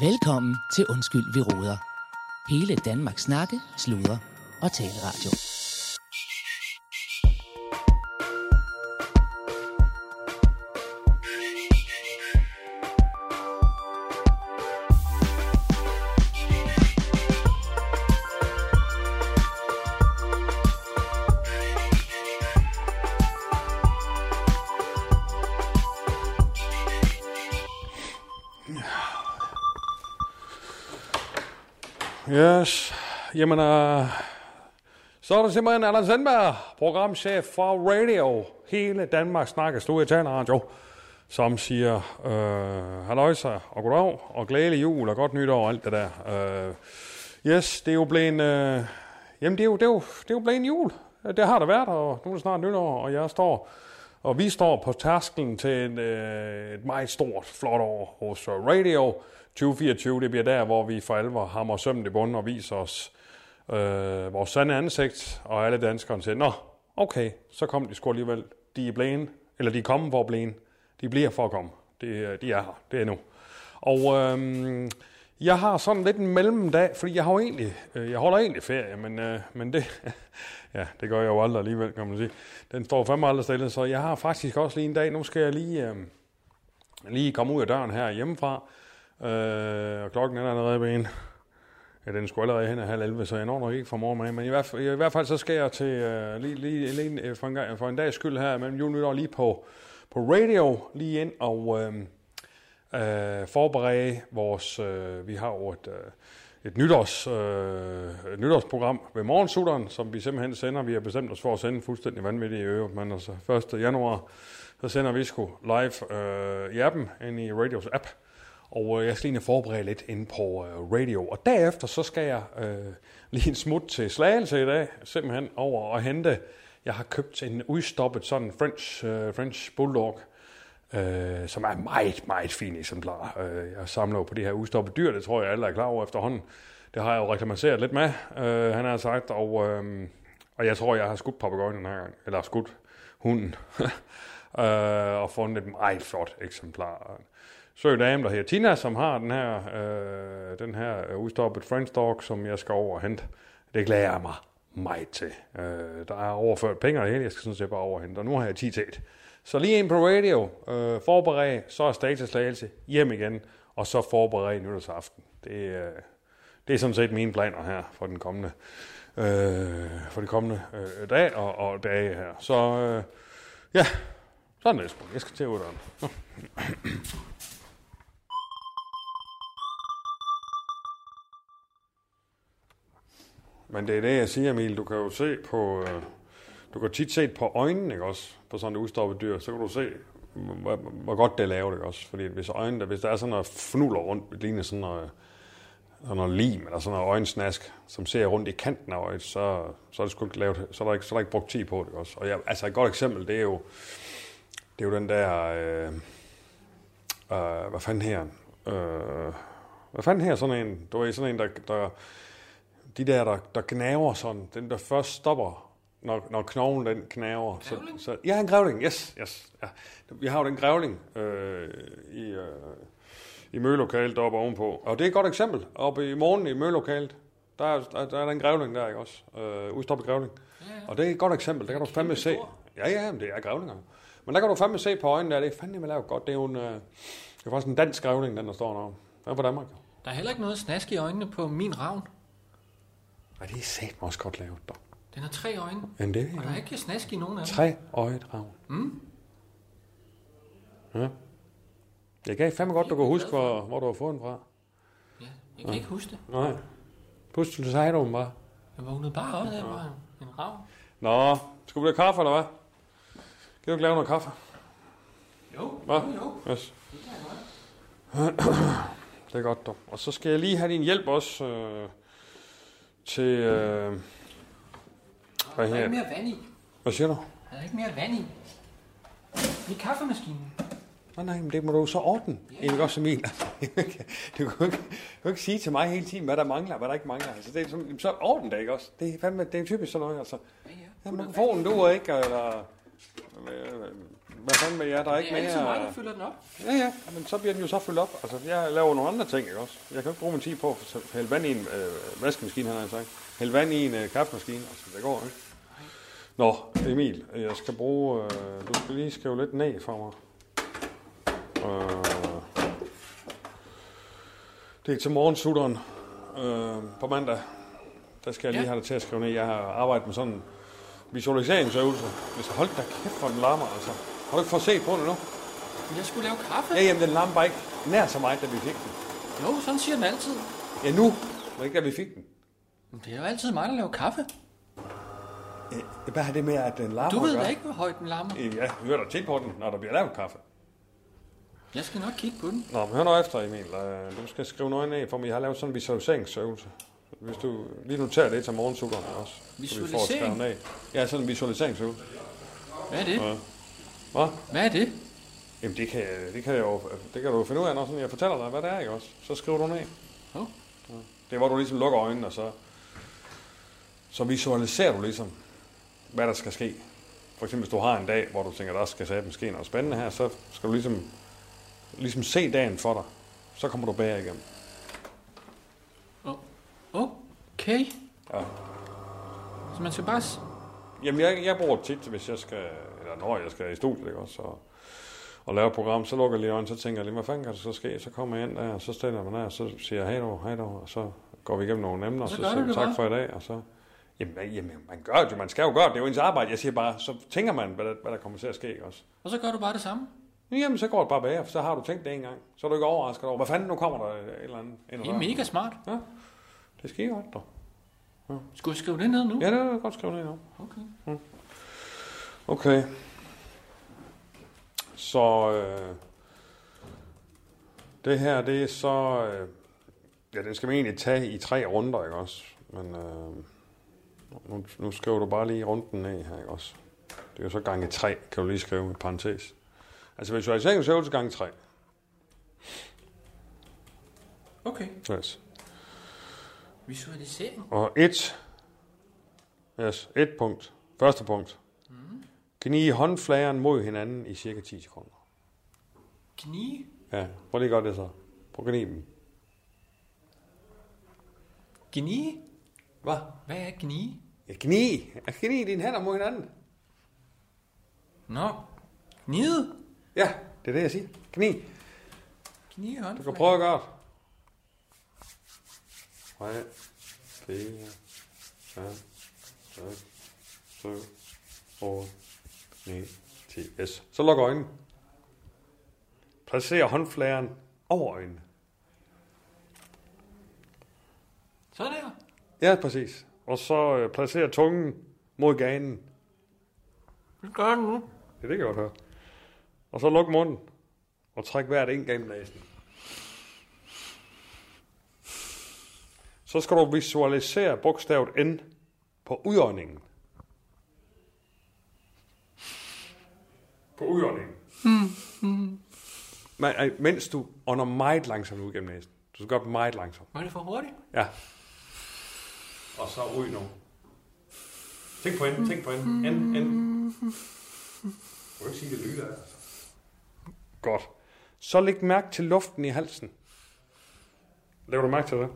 Velkommen til Undskyld, vi råder. Hele Danmarks snakke, sludre og taleradio. Yes. Jamen, øh, så er det simpelthen Allan Sandberg, programchef for Radio, hele Danmark snakker stod i Radio, som siger, øh, halløjsa og goddag, og glædelig jul og godt nytår og alt det der. Øh, yes, det er jo blevet en, øh, jamen det er jo, det er jo, det er jo blevet en jul. Det har der været, og nu er det snart nytår, og jeg står og vi står på tasken til et, øh, et meget stort, flot år hos øh, Radio 2024. Det bliver der, hvor vi for alvor hammer sømmen i bunden og viser os øh, vores sande ansigt, og alle danskerne siger, Nå, okay, så kom de sgu alligevel. De er blæen, eller de er kommet for at blæen. De bliver for at komme. De, øh, de er her. Det er nu. Og øhm, jeg har sådan lidt en mellemdag, fordi jeg har jo egentlig, øh, jeg holder egentlig ferie, men, øh, men det, ja, det gør jeg jo aldrig alligevel, kan man sige. Den står fandme aldrig stille, så jeg har faktisk også lige en dag, nu skal jeg lige, øh, lige komme ud af døren her hjemmefra, øh, og klokken er allerede ved en. Ja, den skulle allerede hen af halv 11, så jeg når nok ikke fra mor med, men i hvert, fald, i hvert fald så skal jeg til, øh, lige, lige, lige øh, for, en gang, for en dags skyld her, mellem jul og nytår, lige på, på radio, lige ind og... Øh, øh, forberede vores, øh, vi har jo et, øh, et, nytårs, øh, et nytårsprogram ved morgensutteren, som vi simpelthen sender. Vi har bestemt os for at sende fuldstændig vanvittige øver, men altså 1. januar, så sender vi sgu live øh, i appen, ind i Radios app. Og øh, jeg skal lige forberede lidt ind på øh, radio. Og derefter så skal jeg øh, lige en smut til Slagelse i dag, simpelthen over og hente. Jeg har købt en udstoppet sådan French, øh, French Bulldog, øh, som er meget, meget fine eksemplarer. Øh, jeg samler jo på det her udstoppede dyr, det tror jeg alle er klar over efterhånden. Det har jeg jo reklameret lidt med, øh, han har sagt, og, øh, og jeg tror, jeg har skudt papagøjen den her gang, eller skudt hunden, øh, og fundet et meget flot eksemplar. Så er dame, der hedder Tina, som har den her, øh, den her udstoppet French Dog, som jeg skal over og hente. Det glæder jeg mig meget til. Øh, der er overført penge og det hele, jeg skal sådan set bare over og hente, og nu har jeg 10 til 1. Så lige ind på radio, øh, forbered, så er statuslagelse hjem igen, og så forbered nytårsaften. Det, øh, det er sådan set mine planer her for den kommende, øh, for de kommende øh, dag og, og dage her. Så øh, ja, sådan er det sgu. Jeg skal til uddøren. Men det er det, jeg siger, Emil. Du kan jo se på... Øh, du kan tit se på øjnene, ikke også? På sådan et udstoppet dyr, så kan du se, hvor, hvor godt det er lavet, ikke også? Fordi hvis øjnene, hvis der er sådan noget fnuller rundt, det ligner sådan noget, sådan noget lim eller sådan noget øjensnask, som ser rundt i kanten af øjet, så, så, er, det sgu ikke lavet, så, er der ikke, så er der ikke brugt tid på det, ikke også? Og jeg, altså et godt eksempel, det er jo, det er jo den der, øh, øh, hvad fanden her, øh, hvad fanden her sådan en, du er sådan en, der, der de der, der, der gnaver sådan, den der først stopper når, når knoglen den knaver. Så, så, ja, en grævling, yes, yes. Ja. Vi har jo den grævling øh, i, øh, i mølokalet deroppe ovenpå. Og det er et godt eksempel. Oppe i morgen i mølokalet, der, er- der, der er den grævling der, ikke også? Øh, udstoppet grævling. Ja, ja. Og det er et godt eksempel. Der kan du fandme se. Ja, ja, men det er grævlinger. Men der kan du fandme se på øjnene, der det er fandme lavet godt. Det er jo en, øh, det er faktisk en dansk grævling, den der står deroppe. Den er fra Danmark. Der er heller ikke noget snask i øjnene på min ravn. Nej, det er satme også godt lavet, dog. Den har tre øjne, Men det og der er ikke snask i nogen af dem. Tre øjet ravn. Mm. Ja. Jeg kan fandme godt, du kan huske, hvor, hvor du har fået den fra. Ja, jeg kan ikke huske det. Nej. Pust til sejt om bare. Jeg vågnede bare op, der var en- en ravn. Nå, skal du have kaffe, eller hvad? Kan du ikke lave noget kaffe? Jo, Hvad? jo, jo. Yes. Det er godt, du. Og så skal jeg lige have din hjælp også øh, til... Øh, hvad, Der er ikke her? mere vand i. hvad siger du? Der er ikke mere vand i. I kaffemaskinen. Nå nej, men det må du jo så ordne. Yeah. Ikke også Emil. du kan jo ikke, du kan ikke sige til mig hele tiden, hvad der mangler, og hvad der ikke mangler. Altså, det er, som, så orden det, ikke også? Det er, fandme, det er typisk sådan noget, altså. Ja, ja. Ja, mikrofonen duer ikke, eller... øh, Hvad fanden med jer? Der er Det ikke er mere... altid mig, der fylder den op. Ja, ja, men så bliver den jo så fyldt op. Altså, jeg laver nogle andre ting, ikke også? Jeg kan jo ikke bruge min tid på at f- hælde vand i en øh, vaskemaskine, han har jeg sagt. Hælde vand i en øh, kaffemaskine, altså, det går ikke. Nå, Emil, jeg skal bruge... Øh, du skal lige skrive lidt ned for mig. Øh, det er til morgensutteren øh, på mandag. Der skal jeg lige Ja. have dig til at skrive ned. Jeg har arbejdet med sådan en visualiseringsøvelse. Hvis hold da kæft, hvor den larmer, altså. Har du ikke fået set på det nu? Men jeg skulle lave kaffe. Ja, jamen, den lamper ikke nær så meget, da vi fik den. Jo, sådan siger den altid. Ja, nu, men ikke da vi fik den. Men det er jo altid mig, der laver kaffe. Ja, hvad har det med, at den larmer? Du ved at da gøre? ikke, hvor højt den lammer. Øh, Ja, jeg hører da tit på den, når der bliver lavet kaffe. Jeg skal nok kigge på den. Nå, men hør nu efter, Emil. Øh, Du skal skrive noget ned, for mig. jeg har lavet sådan en visualiseringsøvelse. Hvis du lige noterer det til morgensukkerne også. så vi får det skrevet Visualisering? ned. Ja, sådan en visualiseringsøvelse. Hvad er det? Hvad? Hvad er det? Jamen, det kan, det kan, jeg jo, øh, det kan du jo finde ud af, når sådan jeg fortæller dig, hvad det er, ikke også? Så skriver du ned. Hov. Det er, hvor du ligesom lukker øjnene, og så, så visualiserer du ligesom, hvad der skal ske. For eksempel, hvis du har en dag, hvor du tænker, der skal sætte ske noget spændende her, så skal du ligesom, ligesom se dagen for dig. Så kommer du bag igennem. Okay. Ja. Så man skal bare... s- Jamen, jeg, jeg bruger det tit, hvis jeg skal, eller når jeg skal i studiet, ikke også, og, og lave et program, så lukker jeg lige øjnene, så tænker jeg lige, hvad fanden kan der så ske? Så kommer jeg ind der, og så stiller jeg mig der, og så siger jeg, hej dog, hej dog, og så går vi igennem nogle emner, og Så så, gør siger du vi det tak bare." for i dag, og så... Jamen, jamen, man gør det jo, man skal jo gøre det, det er jo ens arbejde. Jeg siger bare, så tænker man, hvad der, hvad der kommer til at ske, ikke også? Og så gør du bare det samme. Jamen, så går det bare bag, for så har du tænkt det en gang. Så er du ikke overrasket over, hvad fanden, nu kommer der øh, et eller andet. ind ad Det er døren." mega smart. Ja, det sker godt, dog. Skulle jeg skrive det ned nu? Ja, det er godt skrevet ned, ja. Okay. Okay. Så øh, det her, det er så... Øh, ja, den skal man egentlig tage i tre runder, ikke også? Men øh, nu, nu skriver du bare lige runden ned her, ikke også? Det er jo så gange tre, kan du lige skrive i parentes. Altså visualiseringsøvelse gange tre. Okay. Yes. Visualisering. Og et, yes, et punkt. Første punkt. Mm. Gnige håndfladeren mod hinanden i cirka 10 sekunder. Gnige. Ja, prøv lige at gøre det så. Prøv at gnide dem. Gnige? Hvad? Hvad er gnige? Jeg gni. Jeg gni dine hænder mod hinanden. Nå. Gnide. Ja, det er det, jeg siger. Gni. Gnige Du håndfladen. kan prøve at gøre det. 3, 4, 5, 6, 7, 8, 9, 10. Yes. Så luk øjnene. Placer håndfladeren over øjnene. Så der. Ja, præcis. Og så øh, placer tungen mod ganen. Det gør den nu. Ja, det kan jeg godt høre. Og så luk munden. Og træk hvert en gennem næsen. Så skal du visualisere bogstavet N på udåndingen. På udåndingen. Men, øh, mens du ånder meget langsomt ud gennem næsen. Du skal gøre det meget langsomt. Var det for hurtigt? Ja. Og så ud nu. Tænk på enden, tænk på enden. Enden, enden. Du kan ikke sige, det lyder altså. Godt. Så læg mærke til luften i halsen. Lægger du mærke til det?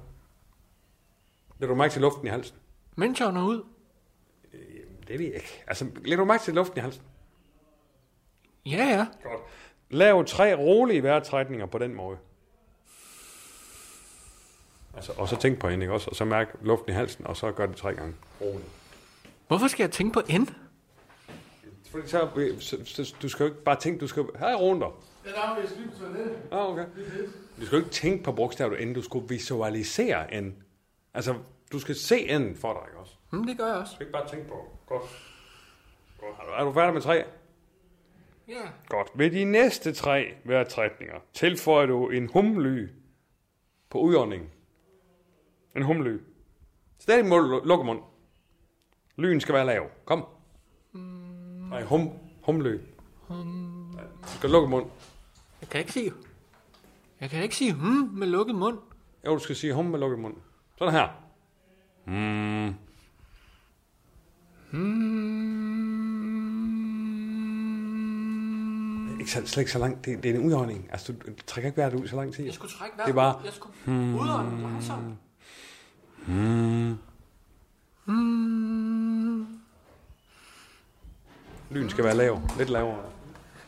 Lægger du mærke til luften i halsen? Mens jeg ånder ud. Jamen, det ved jeg ikke. Altså, lægger du mærke til luften i halsen? Ja, ja. Godt. Lav tre rolige vejrtrækninger på den måde. Altså, og så tænk på hende, ikke også? Og så mærk luften i halsen, og så gør det tre gange. Roligt. Hvorfor skal jeg tænke på N? Fordi så, så, så, du skal jo ikke bare tænke, du skal jo... Her er runder. Ja, okay. Du skal jo ikke tænke på bogstavet end, du skal visualisere en. Altså, du skal se enden for dig, ikke også? Du Hm, det gør jeg også. skal ikke bare tænke på. Godt. Godt. Er du- Er du færdig med tre? Ja. Godt. Ved de næste tre vejrtrækninger tilføjer du en humly på udåndingen. En humly. Stadig må du lu- lukke munden. Lyden skal være lav. Kom. Nej, hum, humly. Nej, Du skal lukke munden. Jeg kan ikke sige... Jeg kan ikke sige hmm med lukket mund. Jo, du skal sige hum med lukket mund. Sådan her. Mm. Hmm. ikke så, slet ikke så langt. Det, det er en udånding. Altså, du, du trækker ikke vejret ud så lang tid. Jeg skulle trække vejret. Det er bare- Jeg skulle hmm. udånde langsomt. Lyden skal være lav. Lidt lavere.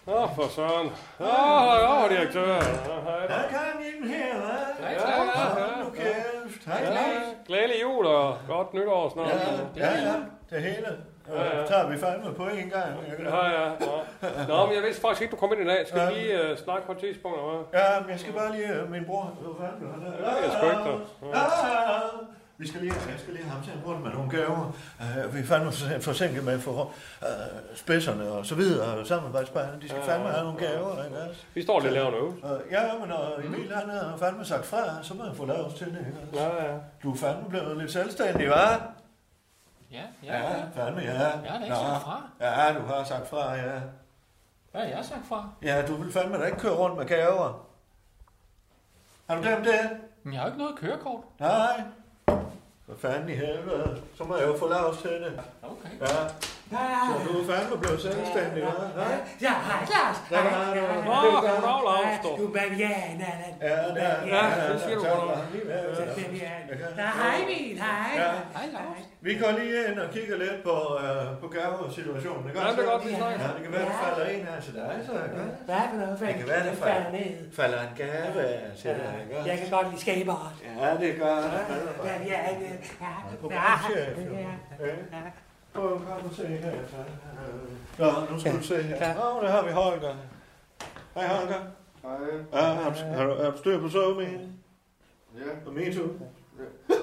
Nå, for søren. Nå, hej, direktør. Der kom ind her, hva'? Ja, ja, ja. Hold nu kæft. Hej, Claus. Glædelig jul og godt nytår snart. Ja, ja, det hele. Ja, tager vi fandme på en gang. Jeg kan- Ja, ja. Nå. Nå, men jeg vidste faktisk ikke, du kom ind i dag. Skal vi lige uh, snakke på et tidspunkt? Eller hvad? Ja, men jeg skal bare lige... øh, Min bror... Hvad fanden han er? Jeg skal ikke der. Ah, Vi skal lige, jeg skal lige have ham til at rundt med nogle gaver. Uh, vi er fandme forsin- forsinket med for uh, spidserne og så videre, og samarbejdspartnerne, de skal fandme have nogle gaver, ikke også? Vi står lidt lavere nu. Uh, ja, men og Emil han har fandme sagt fra, så må jeg få lavet til det, ikke også? Ja, ja. Du er fandme blevet lidt selvstændig, hva'? Ja, ja, ja. Ja, fandme, ja. Jeg har da ikke sagt fra. Ja, du har sagt fra, ja. Hvad har jeg sagt fra? Ja, du vil fandme da ikke køre rundt med gaver. Har du glemt det? Men jeg har jo ikke noget kørekort. Nej. Hvad fanden i helvede? Så må jeg jo få lavs til det. Okay. Ja, Ja, så du er fandme blevet selvstændig, hva'? Ja, ja, hej Lars. Ja, hej, Lars. Nå, goddag, Lars. Du er bavianer. den. ja, ja, Ja, det siger du tak, godt nok. Lars. Ja, ja. Bavianer. Ja, hej Emil, hej. Ja. Hej, Lars. Vi går lige ind og kigger lidt på, øh, på gavesituationen, ikke Ja, det er godt, vi Ja, snakker. det kan være, der falder en her til dig, så ikke? også? Hvad for noget? Hvad Det kan være, det er fra- falder ned? Falder en gave af til dig, ikke? Jeg også? kan godt lide skaberet. Ja, det gør Ja, ja, øh. ja. På ja, branchen. ja. Ja. Prøv at komme og se her. Nå, nu skal du se her. Ja. Nå, der har vi Holger. Hej Holger. Hej. Ja, har, du, har, du, har du styr på sovemagen? Ja. Og MeToo? Ja.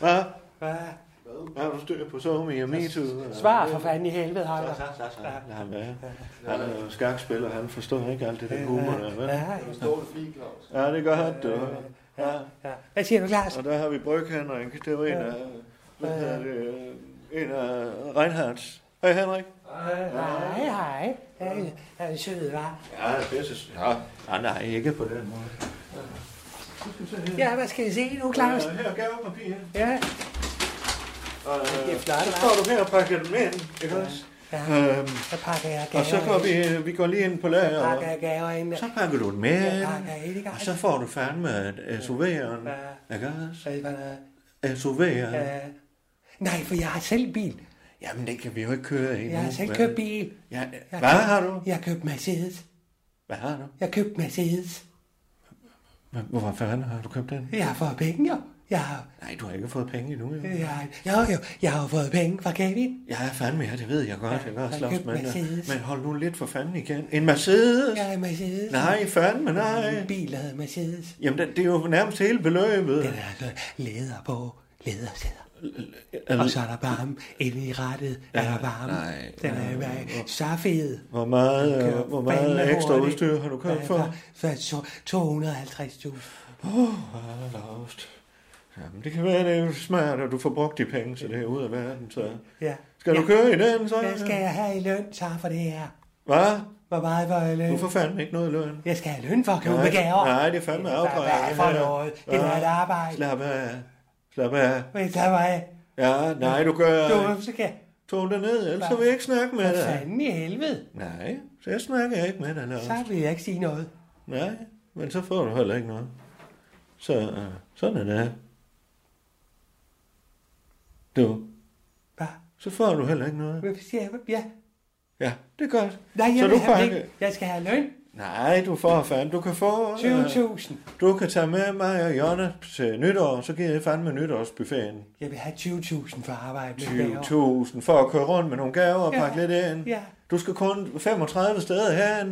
Hvad? Hvad? Har du styr på sovemagen og MeToo? Svar for fanden i helvede, Holger. Lad ham være. Han er jo skakspiller, han forstår ikke alt det der humor der, vel? Ja, Ja, det gør han, du. Ja. ja. Hvad siger du, Lars? Og der har vi Bryg Henrik. Det var en af, hvad hedder det, øh, en af Reinhards. Hej Henrik. Hej, hej. Ja, Han er sød, hva'? Ja, det synes jeg. Ja, nej, ikke på den måde. Ja, hvad skal vi se nu, Claus? Øh, her er gavepapir. Ja, Og, Det er øh, flot, så hva'? står du her og pakker dem ind, ikke også? ja. Øhm, Så pakker jeg gaver og så går ind. vi, vi går lige ind på lager, og pakker jeg gaver ind. så pakker du dem med, Jeg pakker ind i gang. og så får du fandme et SUV'eren, ikke også? Så det var noget, SUV'eren. øh, nej, for jeg har selv bil. Jamen, det kan vi jo ikke køre endnu. Jeg har selv vel? købt bil. Ja, øh, hvad Jeg købte- har du? Jeg har købt Mercedes. Hvad har du? Jeg har købt Mercedes. Hvad- Hvorfor fanden har du købt den? Jeg har fået penge, jo. Jeg har, Nej, du har ikke fået penge endnu, jo. jeg, jo, jo, jeg har jo fået penge fra Kevin. Ja, fandme, ja, det ved jeg godt. Jeg kan også han slås købte med det. Mercedes. Men hold nu lidt for fanden igen. En Mercedes? Jeg har en Mercedes. Nej, fandme En nej. bil, der hedder Mercedes. Jamen, det, det er jo nærmest hele beløbet. Den er altså læder på. Lædersæder. Al- Og så er der varme inde i rettet. Er der varme? nej. Den er bare så fed. Hvor meget, kører øh, hvor meget fandme ekstra hurtigt. udstyr har du købt Ja, for? Øh, For, to- 250.000. Hold da host. Jamen, det kan være, det er jo smart, at du får brugt de penge, så det er ud af verden. Så. Ja. Skal du ja. køre i den, så? Hvad skal jeg have i løn, så for det her? Hvad? Hvor meget var jeg løn? Du får fandme ikke noget løn. Jeg skal have løn for at købe Nej, gaver. nej, det er fandme afbrænding, Hvad er det for her. noget? Det er Nej. et arbejde. Slap af. Slap af. Men så var jeg... Ja, nej, du gør... Du, så kan Tog dig ned, ellers så vil jeg ikke snakke med Hvad dig. fanden i helvede? Nej, så jeg snakker ikke med dig, Lars. Så vil jeg ikke sige noget. Nej, men så får du heller ikke noget. Så øh, sådan er det. Du, Hvad? så får du heller ikke noget. Hvad siger jeg? Ja. Ja, det er godt. Nej, jeg, så du vil have ikke... ikke. jeg skal have løn. Nej, du får fandme. Du kan få... øh, 20.000. Du kan tage med mig og Jonna til nytår, så giver jeg fandme nytårsbuffeten. Jeg vil have 20.000 for at arbejde med gaver. 20.000 for at køre rundt med nogle gaver og Ja, pakke lidt ind. ja. Du skal kun 35 steder herhen.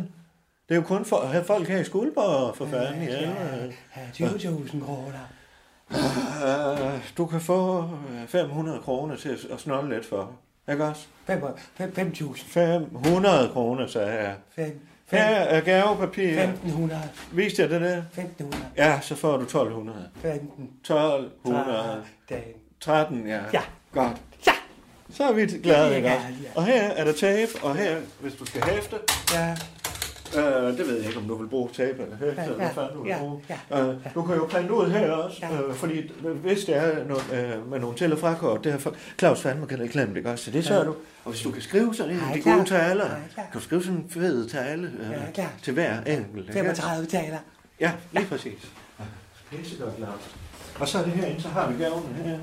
Det er jo kun for at have folk her i Skuldborg, for fanden. Ja, ja. Ja, 20.000 kroner. Øh, du kan få øh, 500 kroner til at- at snolle lidt for. Ikke også? Fem- fem- 5.000. 500 kroner, sagde jeg. Fem- Her fem- er gavepapir. 1.500. Viste jeg det der? 1.500. Ja, så får du 1200. 15. 1200. Dagen. 13, ja. Ja. Godt. Ja. Så er vi Det vil glade, jeg ikke også? gerne, ja. Og her er der tape, og her, hvis du skal hæfte, Ja, Øh, det ved jeg ikke, om du vil bruge tape eller hæfte, eller hvad fanden du vil ja, bruge. ja. Øh, du kan jo printe ud her også, Ja. øh, fordi hvis det er noget, øh, med nogle til- og frakort, det har for- Claus fandme kan ikke glemme det, ikke også? Så det sørger du. Og hvis du kan skrive sådan en, Ej, de klar. gode taler, Ej, klar. kan du skrive sådan en fed tale øh, Ja, klar. til hver enkelt. ikke? 35 taler. Ja, lige præcis. Pissegodt, Claus. Og så er det herinde, så har vi gaven her.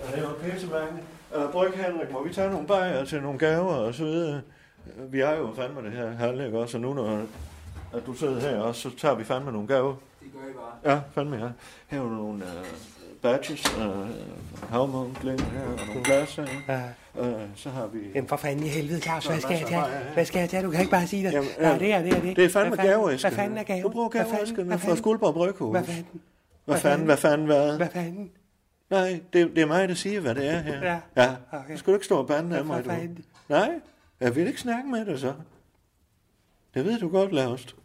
Og det er jo pissemange. Øh, Bryg Henrik, må vi tage nogle bajer til nogle gaver og så videre? Øh, Vi har jo fandme det her halvlæg også, og nu når at du sidder her også, så tager vi fandme nogle gaver. Det gør I bare. Ja, fandme ja. Her er jo nogle øh, badges, øh, havmundklæder her, og nogle glasser. Ja. Øh, så har vi... Jamen for fanden i helvede, Claus, hvad Så er skal jeg der tage? masser af- ja, ja. Hvad skal jeg tage? Du kan ikke bare sige det. Jamen, Nej, ja. det er det, er det. Det er fandme Hvad fanden- gaveæsken. Hvad fanden er gaven? Du bruger Hvad fanden- gaveæsken hvad fra fanden- Skuldborg Bryghus. Hvad fanden? Hvad fanden, hvad fanden, hvad? Hvad fanden? Nej, det, det er mig, der siger, hvad det er her. Ja. ja. Okay. Okay. Skal du ikke stå og bande af Hvad mig, du? fanden? Nej, jeg vil ikke snakke med dig så. Det ved du godt, Lavst.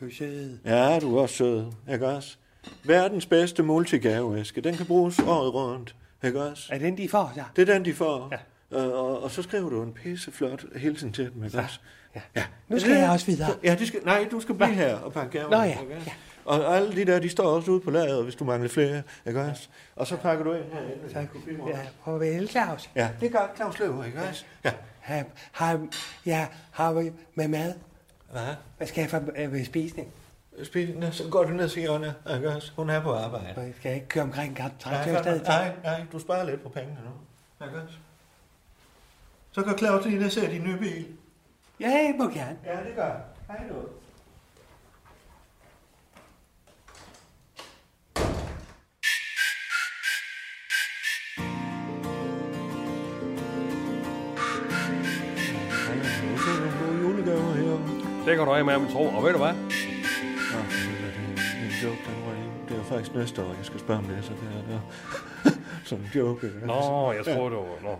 Du er sød. Ja, du er også sød, ikke også? Verdens bedste multigaveæske, den kan bruges året rundt, ikke også? Er den, de får så? Det er den, de får. Ja. Øh, og, og, så skriver du en pisseflot hilsen til dem, ikke også? Ja. Ja. Nu skal Ja, jeg også videre. Ja, de skal, nej, du skal blive her og pakke gaver. Nå ja, ikke også? ja. Og alle de der, de står også ude på lageret, hvis du mangler flere, ikke også? Og så pakker du ind herinde. Tak. Kopimor. Ja, farvel, Claus. Ja, det gør Claus Løver, ikke også? Ja. Har, har, ja, har vi med mad? Hvad? Hvad skal jeg for øh, ved spisning? Spil, så går du ned til Jonna, ikke også? Hun er på arbejde. Skal jeg ikke køre omkring en gang? Nej, Nej, nej, nej, nej, du sparer lidt på pengene nu. Ikke også? Så går Claus lige ned og ser din nye bil. Ja, jeg må gerne. Ja, det gør jeg. Hej du. julegaver herovre. Det kan du af med, min tro. Og ved du hvad? Nå, øh, det er en joke, den var lige. Det er jo faktisk næste år, jeg skal spørge om det, så det er sådan en joke. ikke? Nå, jeg tror du... Nå,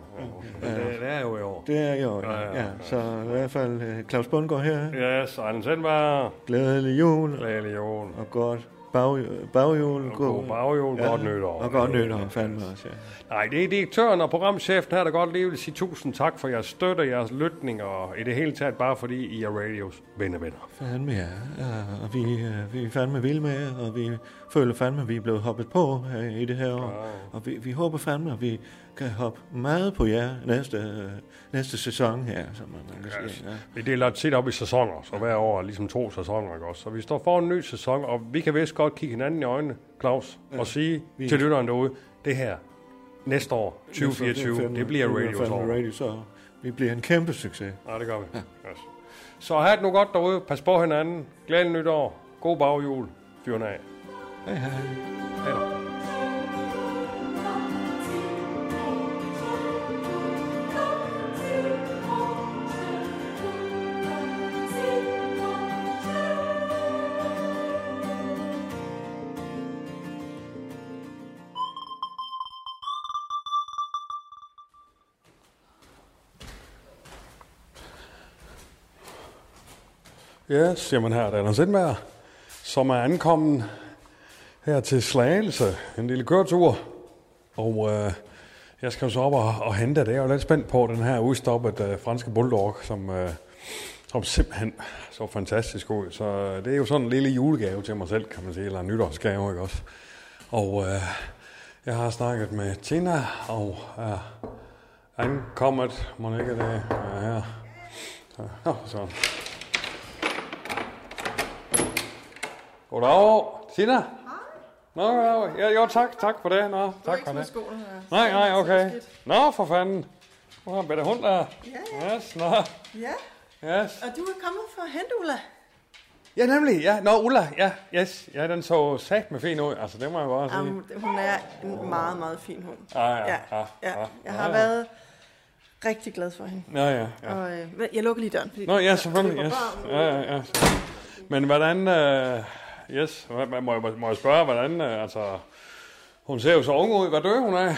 ja. det, det, er jo i år. Det er jo, Ja, ja, ja, ja. Så i hvert fald øh, Claus Bundgaard her. Yes, Arne Sendberg, Glædelig jul religion. og godt bag, baghjul. Og god baghjul, godt nytår. Og godt nytår, fandme også, ja. Nej, det er direktøren og programchefen her, der godt lige vil sige tusind tak for jeres støtte, jeres lytning og i det hele taget bare fordi I er radios venner. Fandme ja, ja, og vi, øh, vi er fandme vilde med jer, og vi føler fandme, at vi er blevet hoppet på øh, i det her år. Og vi, vi håber fandme, at vi kan hoppe meget på jer næste, øh, næste sæson her, som man man kan sige. Ja. Vi deler tit op i sæsoner, så hver år er ligesom to sæsoner, ikke også? Så vi står for en ny sæson, og vi kan vist godt kigge hinanden i øjnene, Claus, og sige til lytteren derude, det her næste år, 2024, det bliver radios år. fandme radio, så vi bliver en kæmpe succes. Nej, det gør vi. Yes. Så have det nu godt derude. Pas på hinanden. Glædelig nytår. God baghjul. Fyren af. Hej hej. Hej da. Yes, jamen her er det Anders Indberg, som er ankommet her til Slagelse. En lille køretur. Og øh, jeg skal jo så op og, og hente det. Jeg er jo lidt spændt på den her udstoppet øh, franske bulldog, som, øh, som simpelthen så fantastisk ud. Så øh, det er jo sådan en lille julegave til mig selv, kan man sige. Eller en nytårsgave, ikke også? Og øh, jeg har snakket med Tina, og er ankommet. Må ikke det er her. Så, nå, sådan. Goddag, Tina. Hej. Nå, ja, ja, jo, tak, tak for det. Nå, tak for det. Nej, nej, okay. Nå, for fanden. Du har en bedre hund der. Ja, yes, nå. Ja, Yes. og du er kommet fra Hendula. Ja, nemlig. Ja, nå, Ulla. Ja, yes. Ja, den så sat med fin ud. Altså, det må jeg bare sige. Jamen, hun er en meget, meget fin hund. Ah, ja, ja, ah, ah, ja. Jeg har ah, været rigtig glad for hende. Ja, ja, ja. Og, øh, vent, jeg lukker lige døren. Fordi Nå, ja, den selvfølgelig. løber Yes. bare ud. Ja, ja, ja. Men hvordan... Øh, yes, hvad- hvad- må jeg, må jeg spørge, hvordan... Øh, altså, hun ser jo så ung ud. Hvad dør hun af?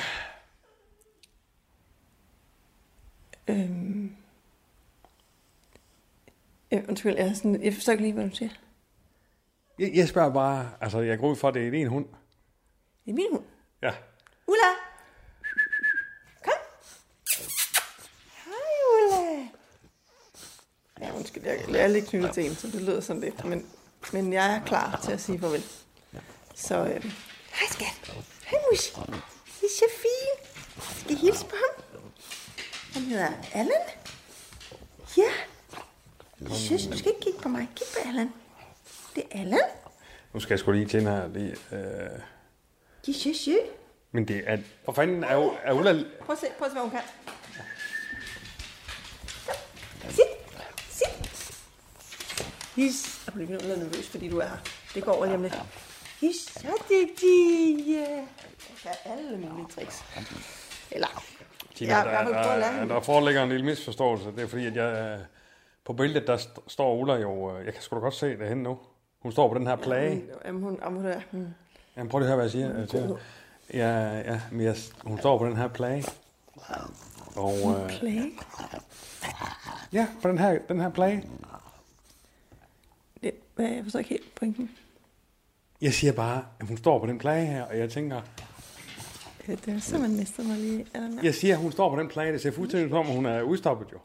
Øhm. Øh, undskyld, jeg, er sådan, jeg forstår ikke lige, hvad du siger. Jeg, jeg spørger bare... Altså, jeg går ud fra, at det er en hund. Det er min hund. Ja. Ulla! Kom! Hej, Ulla! Ja, hun undskyld, jeg, jeg er lidt knyttet til en, så det lyder sådan lidt. Men, men jeg er klar til at sige farvel. Så, øh, hej skat. Hej mus. Det er Shafin. Skal I hilse på ham? Han hedder Allan. Ja. Jeg synes, du skal ikke kigge på mig. Kig på Allan. Det er Allan. Nu skal jeg sgu lige til den her. Lige, øh, Det er Shashu. men det er... For fanden er, jo- er Ulla... Prøv at se, prøv at se, hvad hun kan. Sit, sit. His. Jeg bliver lidt nervøs, fordi du er her. Det går over lige om lidt. His, så dygtig. Ja. Jeg kan alle mulige tricks. Eller, Tina, Ja, der, jeg vil prøve at der, lære der, hende. der foreligger en lille misforståelse. Det er fordi, at jeg... øh, På billedet, der st- står Ulla jo... øh, Jeg kan sgu da godt se det henne nu. Hun står på den her plage. Jamen, hun, om hun er. hmm. Hun. Jamen, prøv lige at høre, hvad jeg siger. øh, til jer. Ja, ja, men jeg, hun står på den her plage. Og øh, Plage. ja, på den her, den her plage. Det, hvad, jeg forstår ikke helt pointen. Jeg siger bare, at hun står på den plage her, og jeg tænker, Ja, Øh, Det er så, man mister mig lige. Er der ja. jeg siger, at hun står på den plage, det ser fuldstændig ud som, om, hun er udstoppet jo.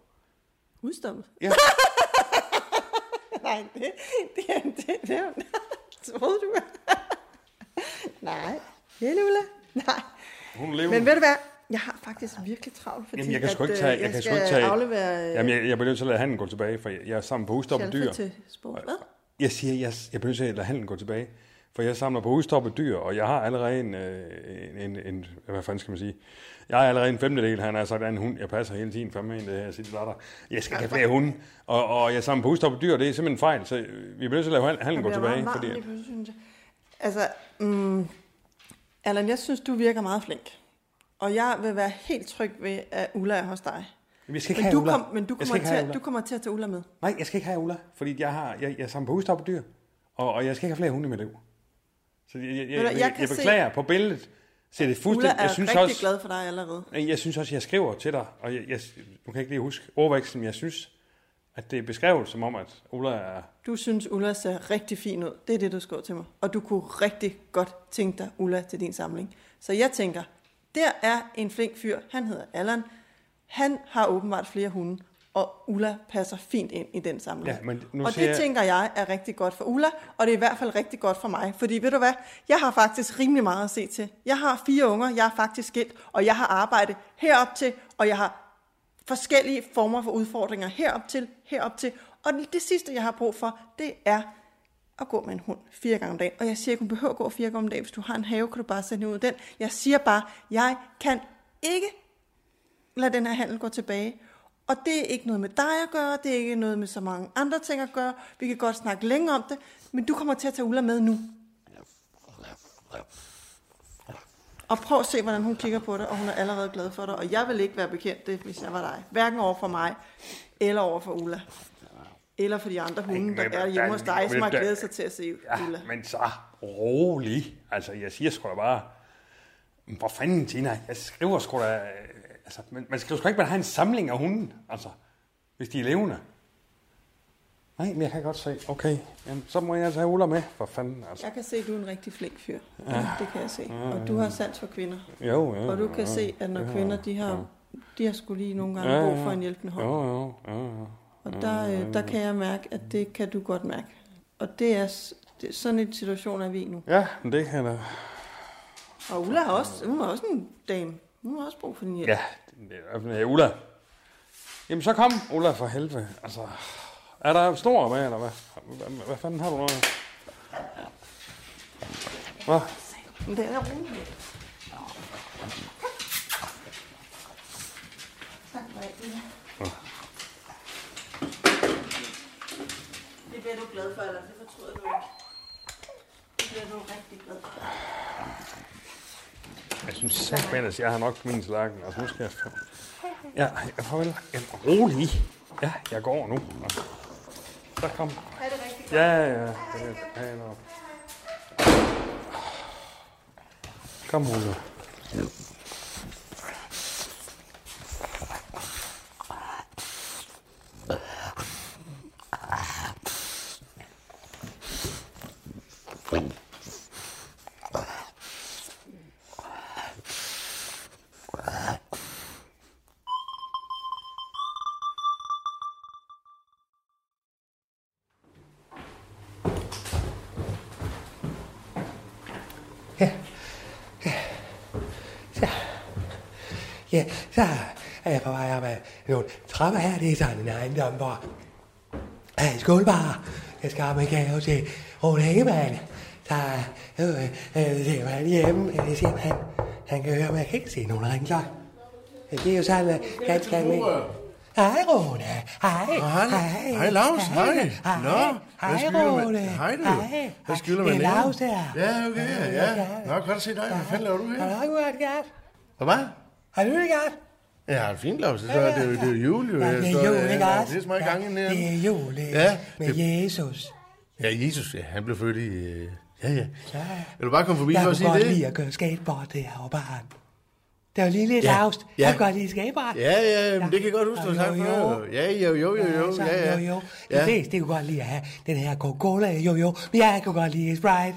Udstoppet? Ja. Nej, det, det, er- det, det, det troede du. Nej. Ja, Lula. Nej. Hun lever. Men ved du hvad? Jeg har faktisk virkelig travlt, fordi Jamen, jeg kan sgu at, ikke tage- øh, jeg kan sgu skal ikke tage- aflevere øh, Jamen, jeg, jeg bliver nødt til at lade handen gå tilbage, for jeg, jeg er sammen på udstoppet dyr. til sport. Hvad? Jeg siger, jeg, jeg bliver nødt til at lade handen gå tilbage, for jeg samler på udstoppet dyr, og jeg har allerede en, øh, en, en, en hvad fanden skal man sige, jeg har allerede en femtedel, han har sagt, af en hund, jeg passer hele tiden, fandme en, det her, siger, der. jeg skal ikke have flere hunde, og, og jeg samler på udstoppet dyr, det er simpelthen en fejl, så øh, vi bliver nødt til at lade handen- handen gå Jeg bliver tilbage, meget varm fordi, lige pludselig, synes jeg. Altså, mm, Allan, jeg synes, du virker meget flink. Og jeg vil være helt tryg ved, at Ulla er hos dig. Jamen, jeg skal ikke Men have du, Ulla. kom, men du, Jeg skal kommer ikke til, have at- Ulla. du kommer til at tage Ulla med. Nej, jeg skal ikke have Ulla, fordi jeg, har, jeg, jeg samler på udstoppet dyr, og, og jeg skal ikke have flere hunde i mit liv. Så jeg, jeg, jeg, du, jeg, jeg jeg, kan jeg se- beklager på billedet, ser det Ulla fuldstændig, er jeg synes rigtig også, glad for dig allerede. Men Jeg synes også, jeg skriver til dig, og jeg, jeg, nu kan jeg ikke lige huske ordvekslen, men jeg synes, at det er beskrevet som om, at Ulla er... Du synes, Ulla ser rigtig fin ud. Det er det, du skrev til mig. Og du kunne rigtig godt tænke dig Ulla til din samling. Så jeg tænker, der er en flink fyr. Han hedder Allan. Han har åbenbart flere hunde, og Ulla passer fint ind i den samling. Ja, men nu og det siger jeg- tænker jeg er rigtig godt for Ulla, og det er i hvert fald rigtig godt for mig. Fordi ved du hvad, jeg har faktisk rimelig meget at se til. Jeg har fire unger, jeg er faktisk skilt, og jeg har arbejde herop til, og jeg har forskellige former for udfordringer herop til, herop til. Og det sidste, jeg har brug for, det er at gå med en hund fire gange om dagen. Og jeg siger ikke, hun behøver at gå fire gange om dagen. Hvis du har en have, kan du bare sende ud af den. Jeg siger bare, jeg kan ikke lade den her handel gå tilbage. Og det er ikke noget med dig at gøre, det er ikke noget med så mange andre ting at gøre. Vi kan godt snakke længe om det, men du kommer til at tage Ulla med nu. Og prøv at se, hvordan hun kigger på dig, og hun er allerede glad for dig. Og jeg vil ikke være bekendt det, hvis jeg var dig. Hverken over for mig, eller over for Ulla. Eller for de andre hunde, der men- er hjemme hos men- dig, som har men- glædet sig til at se Ulla. men så rolig. Altså, jeg siger sgu da bare... "Men Hvor fanden, Tina? Jeg skriver sgu da... øh, Altså, man, man skriver sgu ikke, man har en samling af hunden, altså, hvis de er levende. Nej, men jeg kan godt se, okay, jamen, så må jeg altså have Ulla med, for fanden, altså. Jeg kan se, at du er en rigtig flink fyr. Ja, det kan jeg se. Og du har sans for kvinder. Jo, ja. Og du kan se, at når kvinder, de har, de har skulle lige nogle gange Ja, brug ja. for en hjælpende hånd. Jo, jo, jo, jo. Og der, øh, der kan jeg mærke, at det kan du godt mærke. Og det er, s- det, sådan en situation er vi i nu. Ja, men det kan jeg da. Og Ulla har også, hun er også en dame. Hun har også brug for din hjælp. Ja, det er i hvert fald ja, Ulla. Jamen så kom, Ulla, for helvede. Altså, er der snor med, eller hvad? Hvad, hvad fanden har du noget? Hvad? Men det er roligt. Tak for alt, Ulla. Det bliver du glad for, eller det fortryder du ikke. Det bliver du rigtig glad for. Jeg synes sagt, at jeg har nok på min tallerken. Altså, nu skal jeg... Ja, jeg får vel... Jamen, rolig. Ja, jeg går nu. Altså, så kom. Ha' det rigtig godt. Ja, ja, ja. Det er pænt op. Kom, Ulla. Ja, så er jeg på vej op ad nogle trapper her. Det er sådan en ejendom, hvor der er en skålbar. Jeg skal op med gave til Rune Ingemann. Der er øh, øh, det var hjemme, og det siger han. Han kan høre, men jeg kan ikke se nogen ringklokke. Det er jo sådan øh, ganske almindeligt. Hej, Rune. Hej. Hej, hej, Lars. Hej. Nå, hvad Hej, skylder man- Rune. Hej, du. Hej. Hvad skylder Det man er nære? Lars her. Ja, okay, ja. Nå, godt at se dig. Hvad fanden laver du Har du her? ikke været gæt? Hvad? Har du ikke gæt? Ja, det er fint, Lars. Det er, det er, det er jul, jo. Ja, Jeg det står- er jul, ikke ja, også? Det er så meget gang inden Ja, Det her. er jul, ikke? Ja, Med Jesus. Ja, Jesus, ja, han blev født i... øh, Ja, ja. Ja, ja. Vil du bare komme forbi Jeg for at kunne sige godt det? lide at køre skateboard, det er jo bare Det var lige lidt Ja, lavst. ja. Jeg kunne godt lide skateboard. Ja, ja, men det kan jeg godt huske, du Jo, har sagt jo, før. jo. Ja, jo, jo, jo, jo, så, ja, jo, ja. jo. De Ja. fleste, det kunne godt lide at have den her Coca-Cola, jo, jo. Men jeg kunne godt lide Sprite.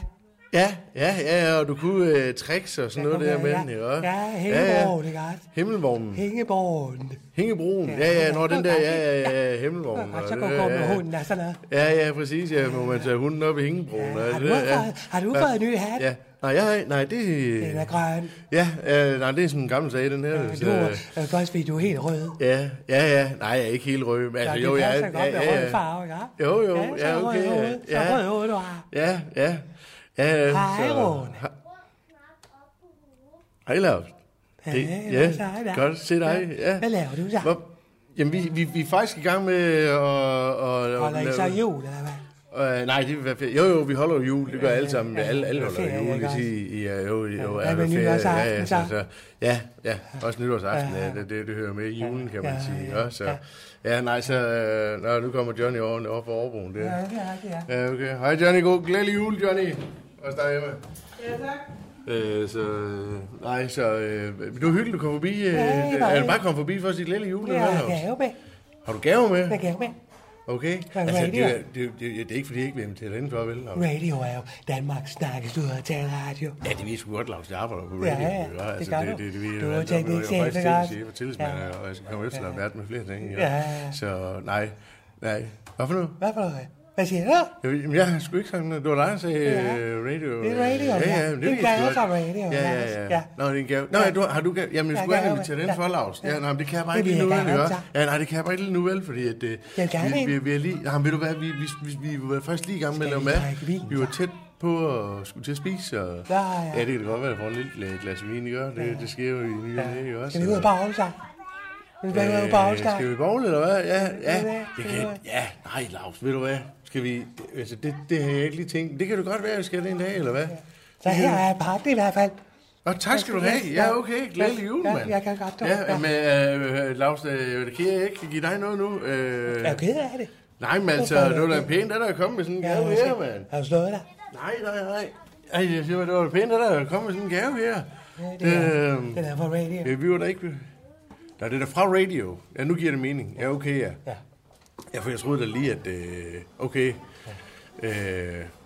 Ja, ja, ja, ja, og du kunne øh, tricks og sådan Jeg noget kunne der med godt- den, ikke? også? Ja, hængeborgen, ikke også? Himmelvognen. Hængeborgen. Hængebroen. Ja, ja, når den der, ja, ja, ja, Og himmelvognen. godt, og så det går der, gå med ja, ja. hunden altså, og sådan noget. Ja, ja, præcis, ja, må man tage hunden op i hængebroen. Ja, og det har du der, fået- ja. har du Ja. fået en ny hat? Ja, nej, jeg, nej, det... Den er grøn. Ja, øh, nej, det er sådan en gammel sag, den her. Men så- Du, jeg kan også vide, du er helt rød. Ja, ja, ja. Nej, jeg er ikke helt rød. Men, Ja, altså, det jo, passer jeg er... godt med rød farve, ikke? Jo, jo, så ja, rød okay, hoved, Så ja. rød hoved, du har. Ja, ja. ja, ja Hej, så- Rune. Hej, Lars. Det, Hej, ja, hvad så, hej, da? godt at se dig. Ja. Hvad laver du så? Hvor, jamen, vi, vi, vi er faktisk i gang med at... at, Holder I så jul, eller hvad? Øh, nej, det vil være ferie. Jo, jo, vi holder jo jul. Det gør alle sammen. Alle, alle holder Ferie, jo jul. ikke Kan også? sige, ja, jo, jo, hvad med ferie. nytårsaften ja, ja, så? ja, ja, også nytårsaften. Ja, Ja, ja. det, det, det hører med i julen, kan man ja, sige. ja, Ja, så, ja, nej, så... Øh, nå, nu kommer Johnny over, over på Overbroen. Det. Ja, Ja. det er rigtigt, ja. ja, okay. Hej, Johnny. God glædelig jul, Johnny. Også dig, Emma. Ja, tak. Øh, så, øh, nej, så øh, men det var hyggeligt, du kom forbi. Øh, Ja, det var er du det. bare kommet forbi for at sige glædelig jul? Ja, eller hvad, Claus? gave med. Har du gaver med? Med gave med. Okay. Ja, Altså, det, er- radio. det, er- det, er- det, er ikke, fordi jeg ikke vil invitere dig indenfor, vel? Claus? Radio er jo Danmarks snakkes ud og tale radio. Ja, det ved sgu godt, Lars. Jeg arbejder på radio. Ja, ja, ikke? det Altså, gør det, du. det, det, ved jeg, Du er hvad det teknikchef, Jeg er faktisk ikke også? teknikchef og tillidsmand, Ja. og jeg skal komme efter dig verden med flere ting. ikke? Ja, ja, ja. Så nej, nej. Hvad for noget? Hvad for noget? Hvad siger du? Jeg, ved- jamen, jeg har sgu ikke sådan noget. Det var dig, der sagde Ja. øh, radio. Det er radio, ja. ja. Ja, men Det det ved gør jeg jeg sgu godt. som radio, Ja, ja, ja. ja. Nå, det er en gave. Nå, Ja. du, har du gave? Jamen, jeg Ja, skulle gave, have inviteret ja. den for, Lars. Ja, Ja. nej, men det kan jeg bare Det ikke vil lige nu, jeg vel? gerne ikke? have, Ja, nej, det kan jeg bare ikke lige nu, vel? Fordi at... øh, Jeg vil gerne vi, have. vi, vi, er lige... Jamen, ved du hvad? Vi, vi, vi, vi var først lige i gang med at lave vi mad. drikke vin, Vi var så? tæt på at skulle til at spise, og... Ja, ja. Ja, det kan da godt være, at jeg får en lille glas vin, ikke? Det, det sker jo i nye ja. ikke også? Skal vi ud og bagle sig? Skal vi ud og bagle Øh, sig? Skal vi bogle, eller hvad? Ja, ja. Det hvad? Ved du kan, hvad? ja, nej, Lars, ved du hvad? Skal vi... det- Altså, det, det har jeg ikke lige tænkt. Det kan du godt være, at vi skal det en dag, eller hvad? Så her er pakken i hvert fald. Nå, tak skal du have. Ja, okay. Glædelig jul, Ja, mand. jeg kan godt, du. Ja, Ja. men øh, Lars, øh, det kan jeg ikke give dig noget nu. Øh, Er du ked af det? Nej, men altså, det var da pænt, at der er kommet med sådan en gave jeg skal- her, mand. Har du slået dig? Nej, nej, nej. Ej, jeg siger, det var da pænt, at der er kommet med sådan en gave her. det er- Øhm, Den er fra radio. Ja, vi var da ikke... Nej, det er da fra radio. Ja, nu giver det mening. Ja, okay, ja. Ja. Ja, for jeg troede da lige, at... Øh, okay. Øh,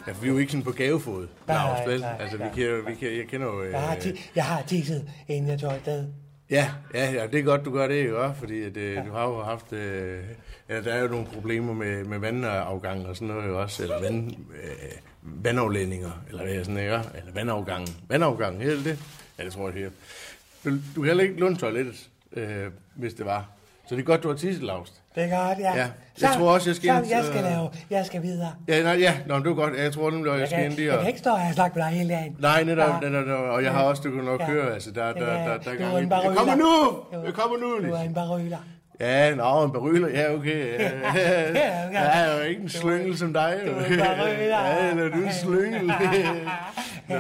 ja, for vi er jo ikke sådan på gavefod. Nej, Lars, vel? nej, altså, vi nej. kan, jo- vi kan, jeg kender jo... Øh, Jeg har, ti- jeg har tisset, inden jeg tog afsted. ja, ja, ja, det er godt, du gør det, jo, fordi at, øh, du har jo haft... Øh, ja, der er jo nogle problemer med, med vandafgang og sådan noget, jo også. Eller vand, øh, vandafledninger, eller hvad er sådan, ikke? Eller vandafgang. Vandafgang, hedder det det? Ja, det tror jeg, det hedder. Du, du kan heller ikke låne toilettet, øh, hvis det var. Så det er godt, du har tisset, Lars. Det er godt, ja. Ja, jeg tror også, jeg skal Så ind, jeg så- skal lave, jeg skal videre. Ja, nej, ja, nå, men det var godt. Ja, Jeg tror nemlig, at jeg Jeg skal ind kan, lige jeg og... kan ikke stå her og snakke med dig hele dagen. Nej, netop, Ja. netop, netop, og jeg har også, du kan nok Ja. høre, altså, der, der, Ja, der, der, der er du er gang i en den. Jeg baryler. kommer nu! Du- Jeg kommer nu! Du er Lis. en barøler. Ja, nå, en baryler, ja, okay. Ja, ja, Ja, okay. jeg er jo ikke en slyngel som dig. jo. Du er en baryler. Ja, eller du er en slyngel. Nå,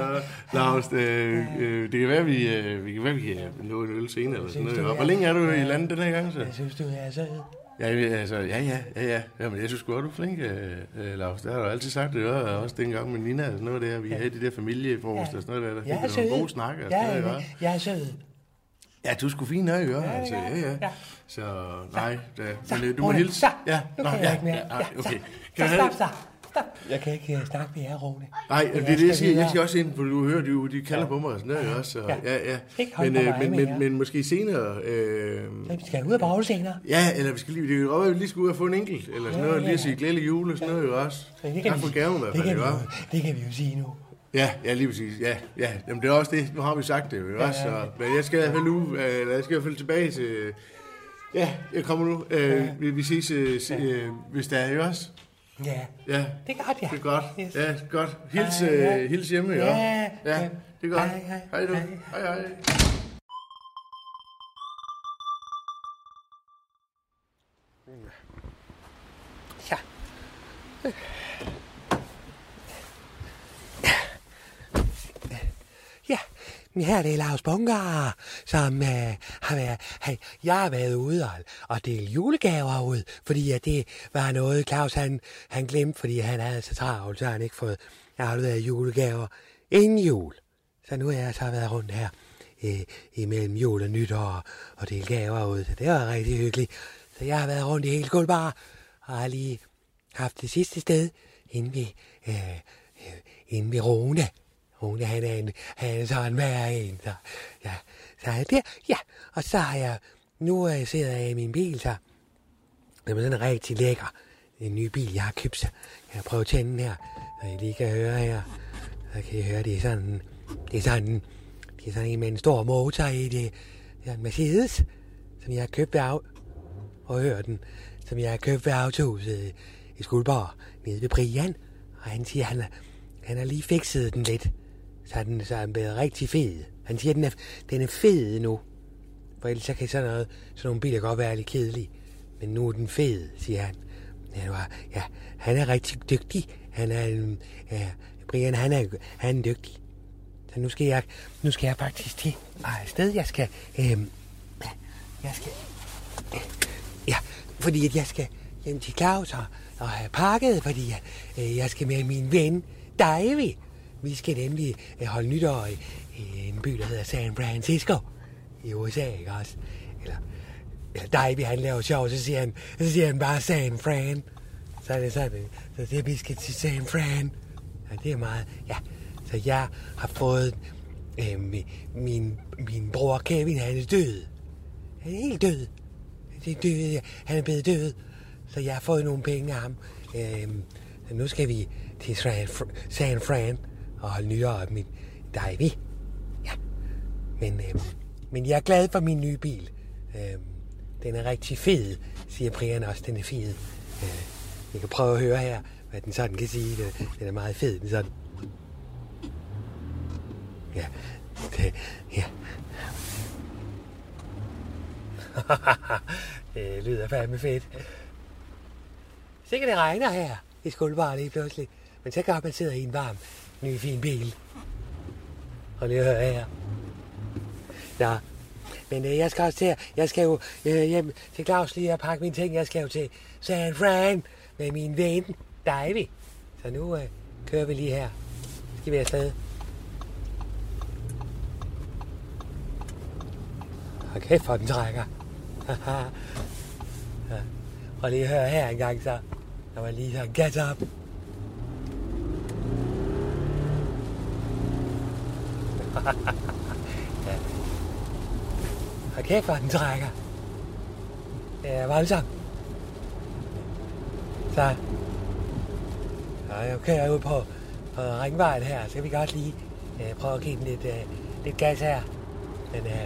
Lars, øh, øh, det kan være, vi, øh, vi kan være, vi kan nå en øl senere eller sådan Synes noget. du, Og Hvor ja. længe er du i landet den her gang, så? Jeg synes, du er sød. Ja, altså, ja, ja, ja, ja. Jamen, jeg synes godt, du er flink, øh, øh, Lars. Det har du altid sagt, det gør jeg også dengang med Nina og sådan noget der. Vi havde de der familiefrokost og sådan noget der. Der Jeg fik er vi sød. nogle gode snakker og Jeg sådan er, noget, ikke? jeg er sød. Ja, du skulle fint nok, ikke? Altså, gør ja, jeg. ja. Ja. Så, nej, da, Så, men øh, du må Rune, hilse. Så, Ja, nu nå, kan ja, jeg ikke mere. ja, Ja, ej, okay. Så, Kan så jeg stop, have- så. Stop. Jeg kan ikke øh, snakke med jer, Rune. Nej, det er Jeg det, jeg skal siger. Jeg videre. siger også ind, for du hører, de, jo- de kalder på mig og sådan noget, ikke også? Og, Ja. ja, ja. Ikke holde Men, på øh, mig men, mere. men, men måske senere... Øh, Vi skal ud og bagle senere. Ja, eller vi skal lige, det kan godt være, at vi lige skal ud og få en enkelt, eller sådan noget, Ja, lige at ja. sige glædelig jul og sådan noget, jo også. Men det kan Tak vi- for gaven i hvert det fald, kan, ikke vi, også? jo- det kan vi jo sige nu. Ja, ja, lige præcis. Ja, ja. Jamen, det er også det. Nu har vi sagt det jo, ikke også? Så, men jeg skal i hvert fald nu, øh, eller jeg skal i hvert fald tilbage til... Ja, jeg kommer nu. Øh, vi, vi ses, øh, se, øh, hvis der er, ikke også? Ja, Ja, det er godt, ja. det er godt. Yes. Ja, godt. Hils, Hej, hej. øh, hils hjemme, ikke også? Ja, Ja, ja. det er godt. Hej, hej. Hej du. Hej. Hej, hej. Ja. Ja, men her er det Lars Bunker, som øh, har været, hey, jeg har været ude og, og dele julegaver ud, fordi at det var noget, Claus han, han glemte, fordi han havde så travlt, så han ikke fået afleveret julegaver inden jul. Så nu har jeg så været rundt her øh, imellem jul og nytår og dele gaver ud, så det var rigtig hyggeligt. Så jeg har været rundt i hele skuldbar og har lige haft det sidste sted inde ved, øh, øh, inde ved Rune. Rune, han er en, han er sådan hver en, så, ja, så er jeg der, ja, og så har jeg, nu øh, sidder jeg i min bil, så, den er sådan rigtig lækker, en ny bil, jeg har købt, så jeg prøver at tænde den her, så I lige kan høre her, så kan I høre, det er sådan, det er sådan, det er sådan en med en stor motor i det, det er en Mercedes, som jeg har købt ved af, og høre den, som jeg har købt ved autohuset øh, i Skuldborg, nede ved Brian. Og han siger, han, har- han har lige fikset den lidt, så den, så er den blevet rigtig fed. Han siger, den er, den er fed nu, for ellers så kan sådan, noget, sådan nogle biler godt være lidt kedelige. Men nu er den fed, siger han. Ja, det var, ja han er rigtig dygtig. Han er, en- ja, Brian, han er, han er dygtig. Så nu skal jeg, nu skal jeg faktisk til ah, et sted. Jeg skal, øhm, jeg skal, Ja, fordi at jeg skal hjem til Claus og, og have pakket, fordi at, øh, jeg skal med min ven Davy. Vi skal nemlig øh, holde nytår i, i en by, der hedder San Francisco i USA, ikke også? Eller, eller Davy, han laver sjov, så siger han, så siger han bare San Fran. Så er det sådan, øh, så det, vi skal til San Fran. Ja, det er meget, ja. Så jeg har fået øh, min, min, min bror Kevin, han er død. Han er helt død. Det er død. ja. Han er blevet død. Så jeg har fået nogle penge af ham. Øhm, så nu skal vi til San, Fr- San Fran og holde nyere af min Davy. Ja. Men, øhm, men jeg er glad for min nye bil. Øhm, den er rigtig fed, siger Brian også. Den er fed. Øh, jeg kan prøve at høre her, hvad den sådan kan sige. Den, den er meget fed. Den sådan. Ja. Det, ja. det lyder fandme fedt. Sikkert det regner her i skuldbaren lige pludselig. Men så godt, man sidder i en varm, ny, fin bil. Og lige høre her. Nå, men øh, jeg skal også til, at- jeg skal jo øh, hjem til Claus lige og pakke mine ting. Jeg skal jo til San Fran med min ven, Davy. Så nu øh, kører vi lige her. Så skal vi afsted. Og kæft, hvor den trækker. ja. Og lige hør her engang så. Der var lige så gas up. Ja. Og kæft, hvor den trækker. Det er voldsomt. Så. Ja, jeg kører ud på, på ringvejen her. Så kan vi godt lige øh, prøve at give den lidt, øh, lidt gas her. Men øh,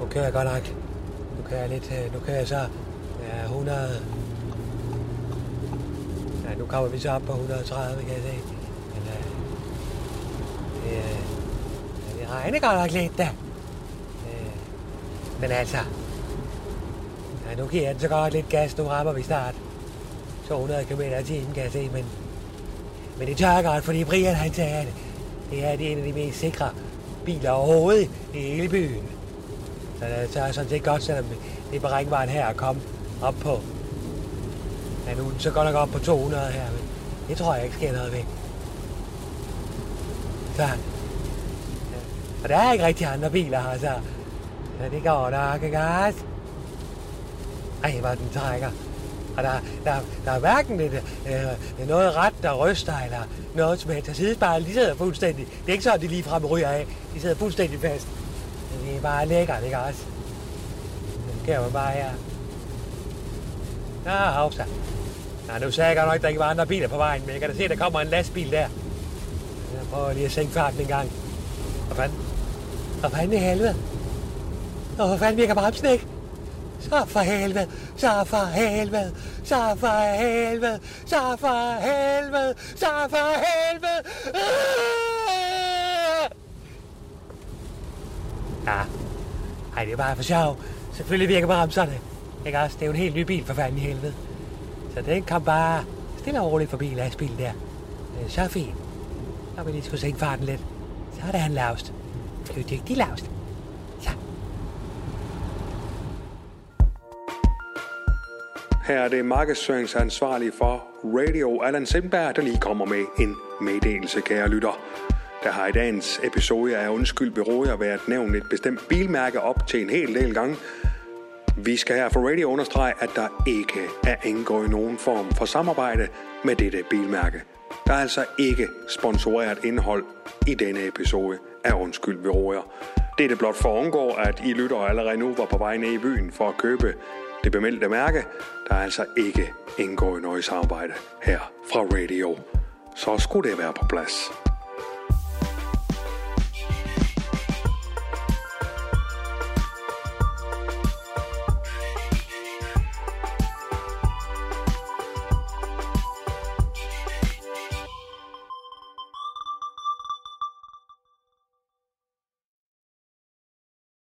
nu kører jeg godt nok. Nu kører jeg lidt, øh, nu kører jeg så øh, 100... Ja, nu kommer vi så op på 130, kan jeg se. Men øh, det, øh, ja, det regner godt nok lidt, da. Øh, men altså... Ja, nu giver jeg den så godt lidt gas. Nu rammer vi snart 200 km i timen, kan jeg se, men... Men det tør jeg godt, fordi Brian han sagde, at det her det er en af de mest sikre biler overhovedet i hele byen. Så det tager sådan set godt, selvom det er på ringvejen her at komme op på. Ja, nu er den så godt nok op på 200 her, men det tror jeg ikke sker noget ved. Så, ja. og der er ikke rigtig andre biler her, så ja, det går nok, ikke også? Ej, hvor den trækker. Og der, der, der er hverken et, øh, noget ret, der ryster, eller noget som helst. Der sidder bare, de sidder fuldstændig. Det er ikke sådan, de lige frem ryger af. De sidder fuldstændig fast. Men Det er bare lækkert, ikke også? Det kan man bare her. Nå, hov så. Nå, nu sagde jeg godt nok, at der ikke var andre biler på vejen, men jeg kan da se, at der kommer en lastbil der. for lige at sænke farten en gang. Hvad fanden? Hvad fanden i helvede? Nå, hvor fanden virker bremsen ikke? Så for helvede, så for helvede, så for helvede, så for helvede, så for helvede. Ah! Ja, Ah. ej, det er bare for sjov. Selvfølgelig virker bremserne. Ikke også? Det er jo en helt ny bil for fanden i helvede. Så den kom bare stille og roligt forbi lastbilen der. Øh, Så fint. Så vil lige skulle sænke farten lidt. Så er der han lavst. Det er jo dygtig lavst. Så. Her er det markedsføringsansvarlig for Radio Allan Sindberg, der lige kommer med en meddelelse, kære lytter. Der har i dagens episode af Undskyld Beroder været nævnt et bestemt bilmærke op til en hel del gange. Vi skal her for Radio understrege, at der ikke er indgået nogen form for samarbejde med dette bilmærke. Der er altså ikke sponsoreret indhold i denne episode af Undskyld Beroder. Det er blot for at undgå, at I lytter allerede nu var på vej ned i byen for at købe det bemeldte mærke. Der er altså ikke indgået noget samarbejde her fra Radio. Så skulle det være på plads.